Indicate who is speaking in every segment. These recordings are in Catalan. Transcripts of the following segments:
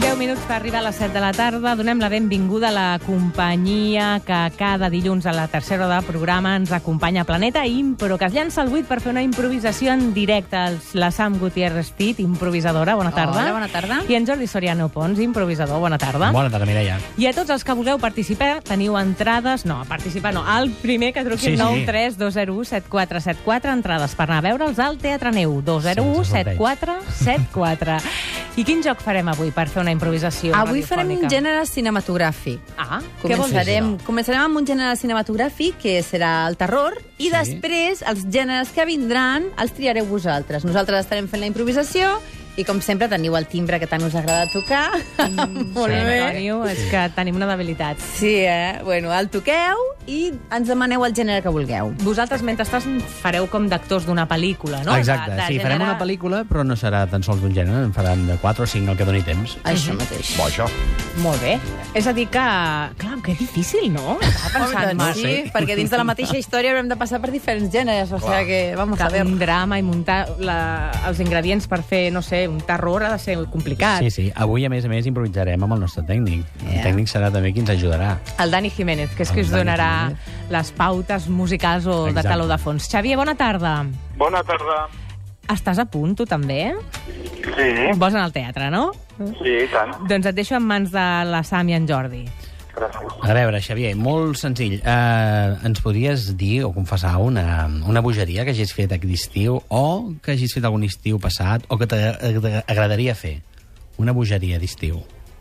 Speaker 1: 10 minuts per arribar a les 7 de la tarda. Donem la benvinguda a la companyia que cada dilluns a la tercera hora de programa ens acompanya a Planeta Impro, que es llança al 8 per fer una improvisació en directe. Els- La Sam Gutiérrez Tit, improvisadora, bona tarda.
Speaker 2: Hola, bona tarda.
Speaker 1: I en Jordi Soriano Pons, improvisador, bona tarda.
Speaker 3: Bona tarda, tota Mireia.
Speaker 1: I a tots els que vulgueu participar, teniu entrades... No, participar no, el primer que truqui
Speaker 3: Sí, sí.
Speaker 1: sí, 932017474, entrades per anar a veure'ls al Teatre Neu,
Speaker 3: Sí, ens
Speaker 1: 2017474. I quin joc farem avui per fer una improvisació
Speaker 2: Avui farem un
Speaker 1: radiofònica?
Speaker 2: gènere cinematogràfic.
Speaker 1: Ah, què vols dir?
Speaker 2: Començarem, començarem amb un gènere cinematogràfic, que serà el terror, i
Speaker 3: Sí.
Speaker 2: després els gèneres que vindran els triareu vosaltres. Nosaltres estarem fent la improvisació i, com sempre, teniu el timbre que tant us agrada tocar.
Speaker 1: Mm,
Speaker 2: Molt
Speaker 3: sí,
Speaker 2: bé.
Speaker 1: Antonio, és que tenim una debilitat.
Speaker 2: Sí, eh? Bueno, el toqueu i ens demaneu el gènere que vulgueu.
Speaker 1: Vosaltres, mentrestant, fareu com d'actors d'una pel·lícula, no?
Speaker 3: Ah, Exacte,
Speaker 1: De- de
Speaker 3: sí,
Speaker 1: gènere-
Speaker 3: farem una pel·lícula, però no serà tan sols d'un gènere, en faran de 4 o 5 el que doni temps.
Speaker 1: Mhm.
Speaker 2: Això mateix.
Speaker 4: Bo, això.
Speaker 1: Molt bé. És a dir que... Clar, que difícil, no? Estava pensant,
Speaker 2: Pensant,
Speaker 1: no?
Speaker 2: sí, perquè dins de la mateixa història haurem de passar per diferents gèneres, o sigui que, vamos a
Speaker 1: que
Speaker 2: ver.
Speaker 1: un drama i muntar la, els ingredients per fer, no sé, un terror ha de ser complicat.
Speaker 3: Sí, sí. Avui, a més a més, improvisarem amb el nostre tècnic.
Speaker 2: Yeah.
Speaker 3: El tècnic serà també qui ens ajudarà.
Speaker 1: El Dani Jiménez, que és
Speaker 3: El
Speaker 1: qui us
Speaker 3: Dani
Speaker 1: donarà les pautes musicals o de
Speaker 3: Exacte.
Speaker 1: taló de fons. Xavier, bona tarda.
Speaker 4: Bona tarda.
Speaker 1: Estàs a punt, tu també?
Speaker 4: Sí,
Speaker 1: Vols anar al teatre, no?
Speaker 4: sí, i tant.
Speaker 1: Doncs et deixo en mans de la Sam i en Jordi.
Speaker 4: Gràcies.
Speaker 3: A veure, Xavier, molt senzill. Uh, ens podries dir o confessar una, una bogeria que hagis fet aquest estiu o que hagis fet algun estiu passat o que t'agradaria fer? Una bogeria d'estiu.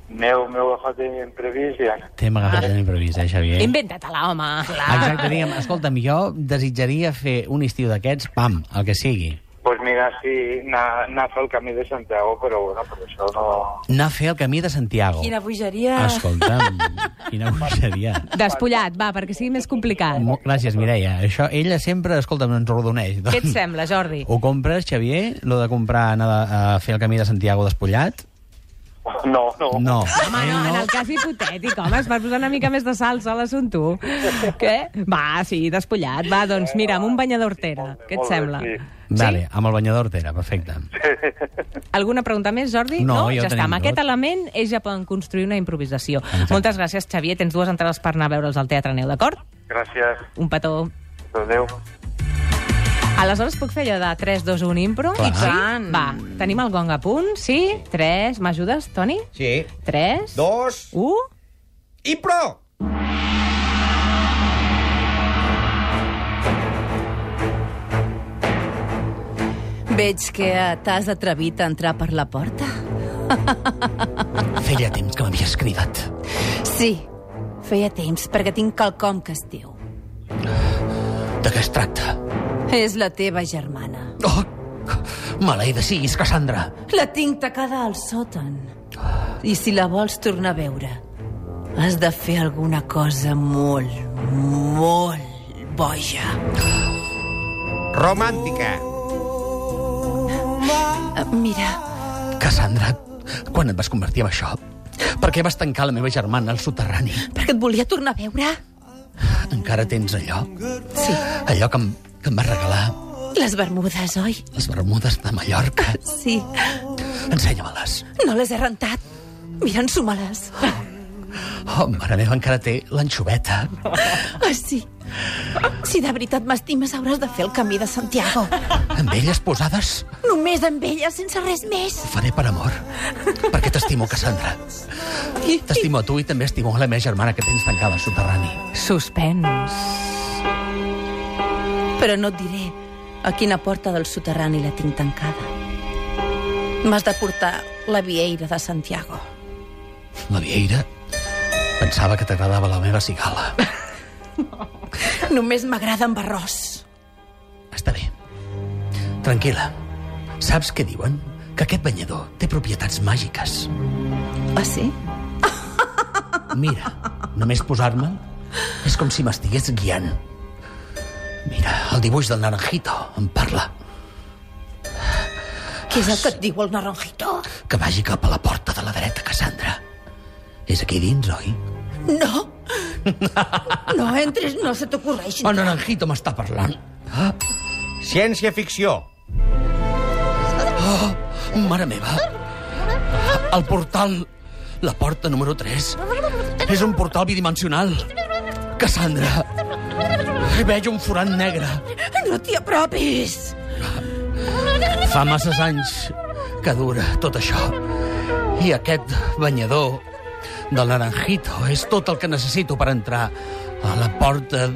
Speaker 4: Meu, meu agafat imprevist, ja.
Speaker 3: T'hem agafat ah. imprevist, eh, Xavier?
Speaker 1: Inventa-te-la, home. Clar.
Speaker 3: Exacte, diguem, escolta'm, jo desitjaria fer un estiu d'aquests, pam, el que sigui.
Speaker 4: Pues mira, sí, anar, anar a fer el camí de Santiago, però bueno, per això no...
Speaker 3: Anar a fer el camí de Santiago.
Speaker 2: Quina bogeria.
Speaker 3: Escolta'm, quina bogeria.
Speaker 1: Despullat, va, perquè sigui més complicat.
Speaker 3: Mo- Gràcies, Mireia. Això, ella sempre, escolta'm, ens rodoneix. doncs.
Speaker 1: Què et sembla, Jordi?
Speaker 3: Ho compres, Xavier, lo de comprar, anar a a fer el camí de Santiago despullat?
Speaker 4: No, no.
Speaker 3: No.
Speaker 1: Home, no, en el cas hipotètic, home, es va posar una mica més de salsa a l'assumpte. Què? Va, sí, despullat. Va, doncs mira, amb un banyador hortera. Què et
Speaker 4: Molt bé,
Speaker 1: sembla?
Speaker 4: sí.
Speaker 3: Vale, amb el banyador Hortera, perfecte.
Speaker 1: Alguna pregunta més, Jordi?
Speaker 3: No, ja ho
Speaker 1: ja està.
Speaker 3: tenim
Speaker 1: Amb
Speaker 3: tot.
Speaker 1: aquest element ells ja poden construir una improvisació. Moltes gràcies, Xavier. Tens dues entrades per anar a veure'ls al Teatre Neu, d'acord?
Speaker 4: Gràcies.
Speaker 1: Un petó.
Speaker 4: Adéu.
Speaker 1: Aleshores puc fer allò de 3, 2, 1, impro?
Speaker 3: Clar.
Speaker 1: I tant. Va, tenim el gong a punt. Sí? 3. M'ajudes, Toni?
Speaker 5: Sí.
Speaker 1: 3.
Speaker 5: Dos
Speaker 1: 1.
Speaker 5: i pro!
Speaker 2: Veig que t'has atrevit a entrar per la porta.
Speaker 3: Feia temps que m'havies cridat.
Speaker 2: Sí, feia temps, perquè tinc quelcom que es diu.
Speaker 3: De què es tracta?
Speaker 2: És la teva germana.
Speaker 3: Oh, maleïda siguis, Cassandra.
Speaker 2: La tinc tacada al sòtan. I si la vols tornar a veure, has de fer alguna cosa molt, molt boja.
Speaker 5: Romàntica.
Speaker 2: Eh, Mira,
Speaker 3: Cassandra, quan et vas convertir en això? Per què vas tancar la meva germana al soterrani?
Speaker 2: perquè et volia tornar a veure.
Speaker 3: Encara tens allò?
Speaker 2: Sí,
Speaker 3: Allò que em, que em vas regalar
Speaker 2: les bermudes, oi?
Speaker 3: les Bermudes de Mallorca.
Speaker 2: Sí,
Speaker 3: Ensenya-me-les.
Speaker 2: no les he rentat. Mira, ensuma-les.
Speaker 3: Oh, mare meva, encara té l'anxoveta.
Speaker 2: Ah, sí. Si de veritat m'estimes, hauràs de fer el camí de Santiago.
Speaker 3: Amb elles posades
Speaker 2: Només amb ella, sense res més.
Speaker 3: ho faré per amor. Perquè t'estimo, Cassandra.
Speaker 2: I, i
Speaker 3: T'estimo a tu i també estimo a la meva germana que tens tancada al soterrani.
Speaker 1: Suspens.
Speaker 2: Però no et diré a quina porta del soterrani la tinc tancada. M'has de portar la vieira de Santiago.
Speaker 3: La vieira pensava que t'agradava la meva cigala.
Speaker 2: Només m'agrada amb arròs.
Speaker 3: Està bé. Tranquil·la. Saps què diuen? Que aquest banyador té propietats màgiques.
Speaker 2: Ah, sí?
Speaker 3: Mira, només posar-me'l és com si m'estigués guiant. Mira, el dibuix del naranjito em parla.
Speaker 2: Què és el que et diu el naranjito?
Speaker 3: Que vagi cap a la porta de la dreta, Cassandra. És aquí dins, oi?
Speaker 2: No. No entres, no se t'ocorreix.
Speaker 3: El naranjito m'està parlant. Ah,
Speaker 5: Ciència-ficció.
Speaker 3: Mare meva! El portal... La porta número 3 és un portal bidimensional. Cassandra, hi veig un forat negre.
Speaker 6: No t'hi apropis!
Speaker 3: Fa masses anys que dura tot això. I aquest banyador del Naranjito és tot el que necessito per entrar a la porta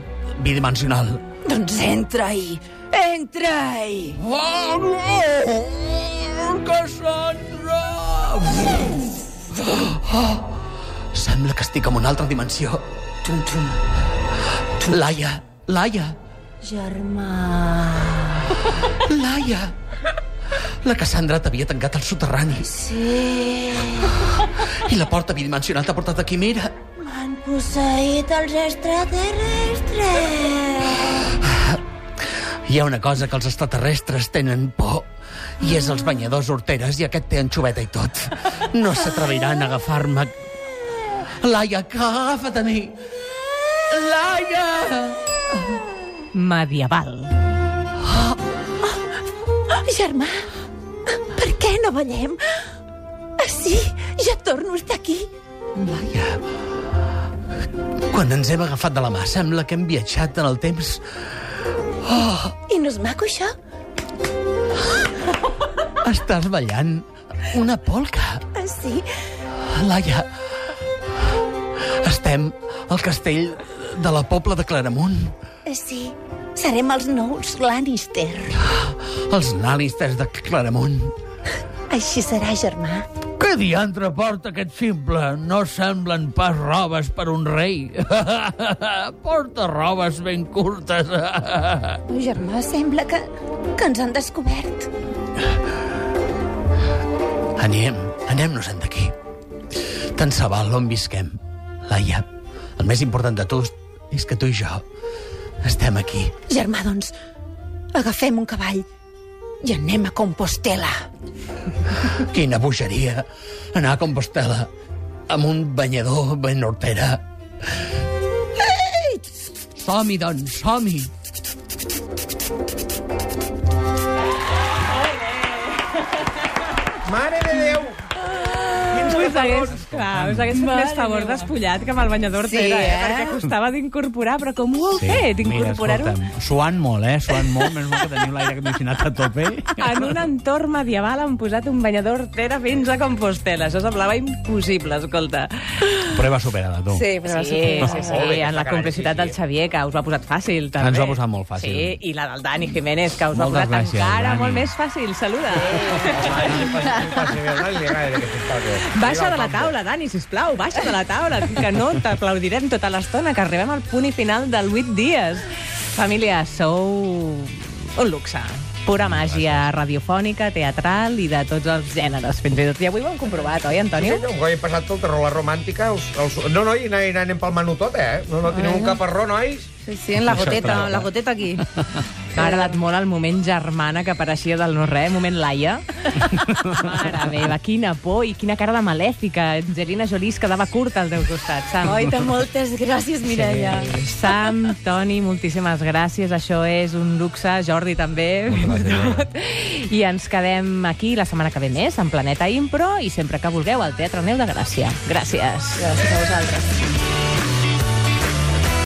Speaker 3: bidimensional.
Speaker 6: Doncs entra-hi!
Speaker 2: eh?
Speaker 6: Entra-hi!
Speaker 3: Oh, no! Cassandra! Oh, sembla que estic en una altra dimensió. Tum, tum. Laia, Laia,
Speaker 6: Germà...
Speaker 3: Laia! La Cassandra t'havia tancat al soterrani.
Speaker 6: Sí...
Speaker 3: I la porta bidimensional t'ha portat aquí, mira.
Speaker 6: M'han posseït els extraterrestres!
Speaker 3: Hi ha una cosa que els extraterrestres tenen por, i és els banyadors horteres, i aquest té anxoveta i tot. No s'atreviran a agafar-me. Laia, que agafa't a mi! Laia!
Speaker 1: Medieval.
Speaker 6: Germà, per què no ballem? Ah, sí, ja torno a estar aquí.
Speaker 3: Laia... Quan ens hem agafat de la mà, sembla que hem viatjat en el temps.
Speaker 6: I no és maco, això?
Speaker 3: Estàs ballant una polca.
Speaker 6: Ah, sí,
Speaker 3: Laia, estem al castell de la Pobla de Claramunt.
Speaker 6: ah, sí. Serem els nous Lannister.
Speaker 3: Els Lannisters de Claramunt.
Speaker 6: Així serà, germà.
Speaker 3: Què diantre porta aquest ximple? No semblen pas robes per un rei. porta robes ben curtes.
Speaker 6: Germà, sembla que, que ens han descobert.
Speaker 3: Anem, anem-nos-en d'aquí. Tant se val on visquem. Laia, el més important de tot és que tu i jo estem aquí.
Speaker 6: Germà, doncs, agafem un cavall i anem a Compostela.
Speaker 3: Quina bogeria anar a Compostela amb un banyador ben hortera. Som-hi, doncs, som-hi.
Speaker 5: Mare de Déu! Quins
Speaker 1: Us hagués,
Speaker 5: catalans!
Speaker 1: clar, us hagués fet
Speaker 6: Mare
Speaker 1: més favor
Speaker 6: meva.
Speaker 1: despullat que amb el banyador
Speaker 6: Sí,
Speaker 1: hortera, eh?
Speaker 6: eh?
Speaker 1: perquè costava d'incorporar, però com ho heu fet, incorporar-ho
Speaker 2: suant molt, eh? Suant molt, més mal que teniu l'aire condicionat a tope.
Speaker 1: en un entorn medieval han posat un banyador hortera fins a Compostela. Això semblava impossible, escolta.
Speaker 2: Prova superada, tu.
Speaker 1: Sí, però sí, sí, sí,
Speaker 5: Molt bé,
Speaker 1: en la
Speaker 5: aquesta
Speaker 1: complicitat
Speaker 5: cara,
Speaker 1: del
Speaker 5: sí, sí.
Speaker 1: Xavier, que us ho ha posat fàcil, també.
Speaker 2: Ens ho ha posat molt fàcil.
Speaker 1: Sí, i la del Dani Jiménez, que us ho ha
Speaker 2: Moltes
Speaker 1: posat
Speaker 2: gràcies,
Speaker 1: encara
Speaker 2: Dani.
Speaker 1: molt més fàcil. Saluda.
Speaker 5: Sí.
Speaker 1: Baixa de la taula, Dani, sisplau, baixa de la taula, que no t'aplaudirem tota l'estona, que arribem al punt i final del 8 dies. Família, sou un luxe. Pura màgia radiofònica, teatral i de tots els gèneres, fins i tot. I avui ho hem comprovat, oi, Antonio?
Speaker 5: No, ho he passat tot, rola romàntica. Us, els, no, noi, anar- anem pel menú tot, eh? No, no, teniu un caparró, nois?
Speaker 6: Sí, sí, en la goteta, en la goteta aquí.
Speaker 1: M'ha agradat molt el moment germana que apareixia del no-res, moment Laia. Mare meva, quina por i quina cara de malèfica. Angelina Jolie es quedava curta al teu costat, Sam.
Speaker 6: Oita, moltes gràcies, Mireia.
Speaker 1: Sam, Toni, moltíssimes gràcies. Això és un luxe. Jordi, també. I ens quedem aquí la setmana que ve més, en Planeta Impro, i sempre que vulgueu, al Teatre Neu de Gràcia. Gràcies.
Speaker 6: Gràcies a vosaltres.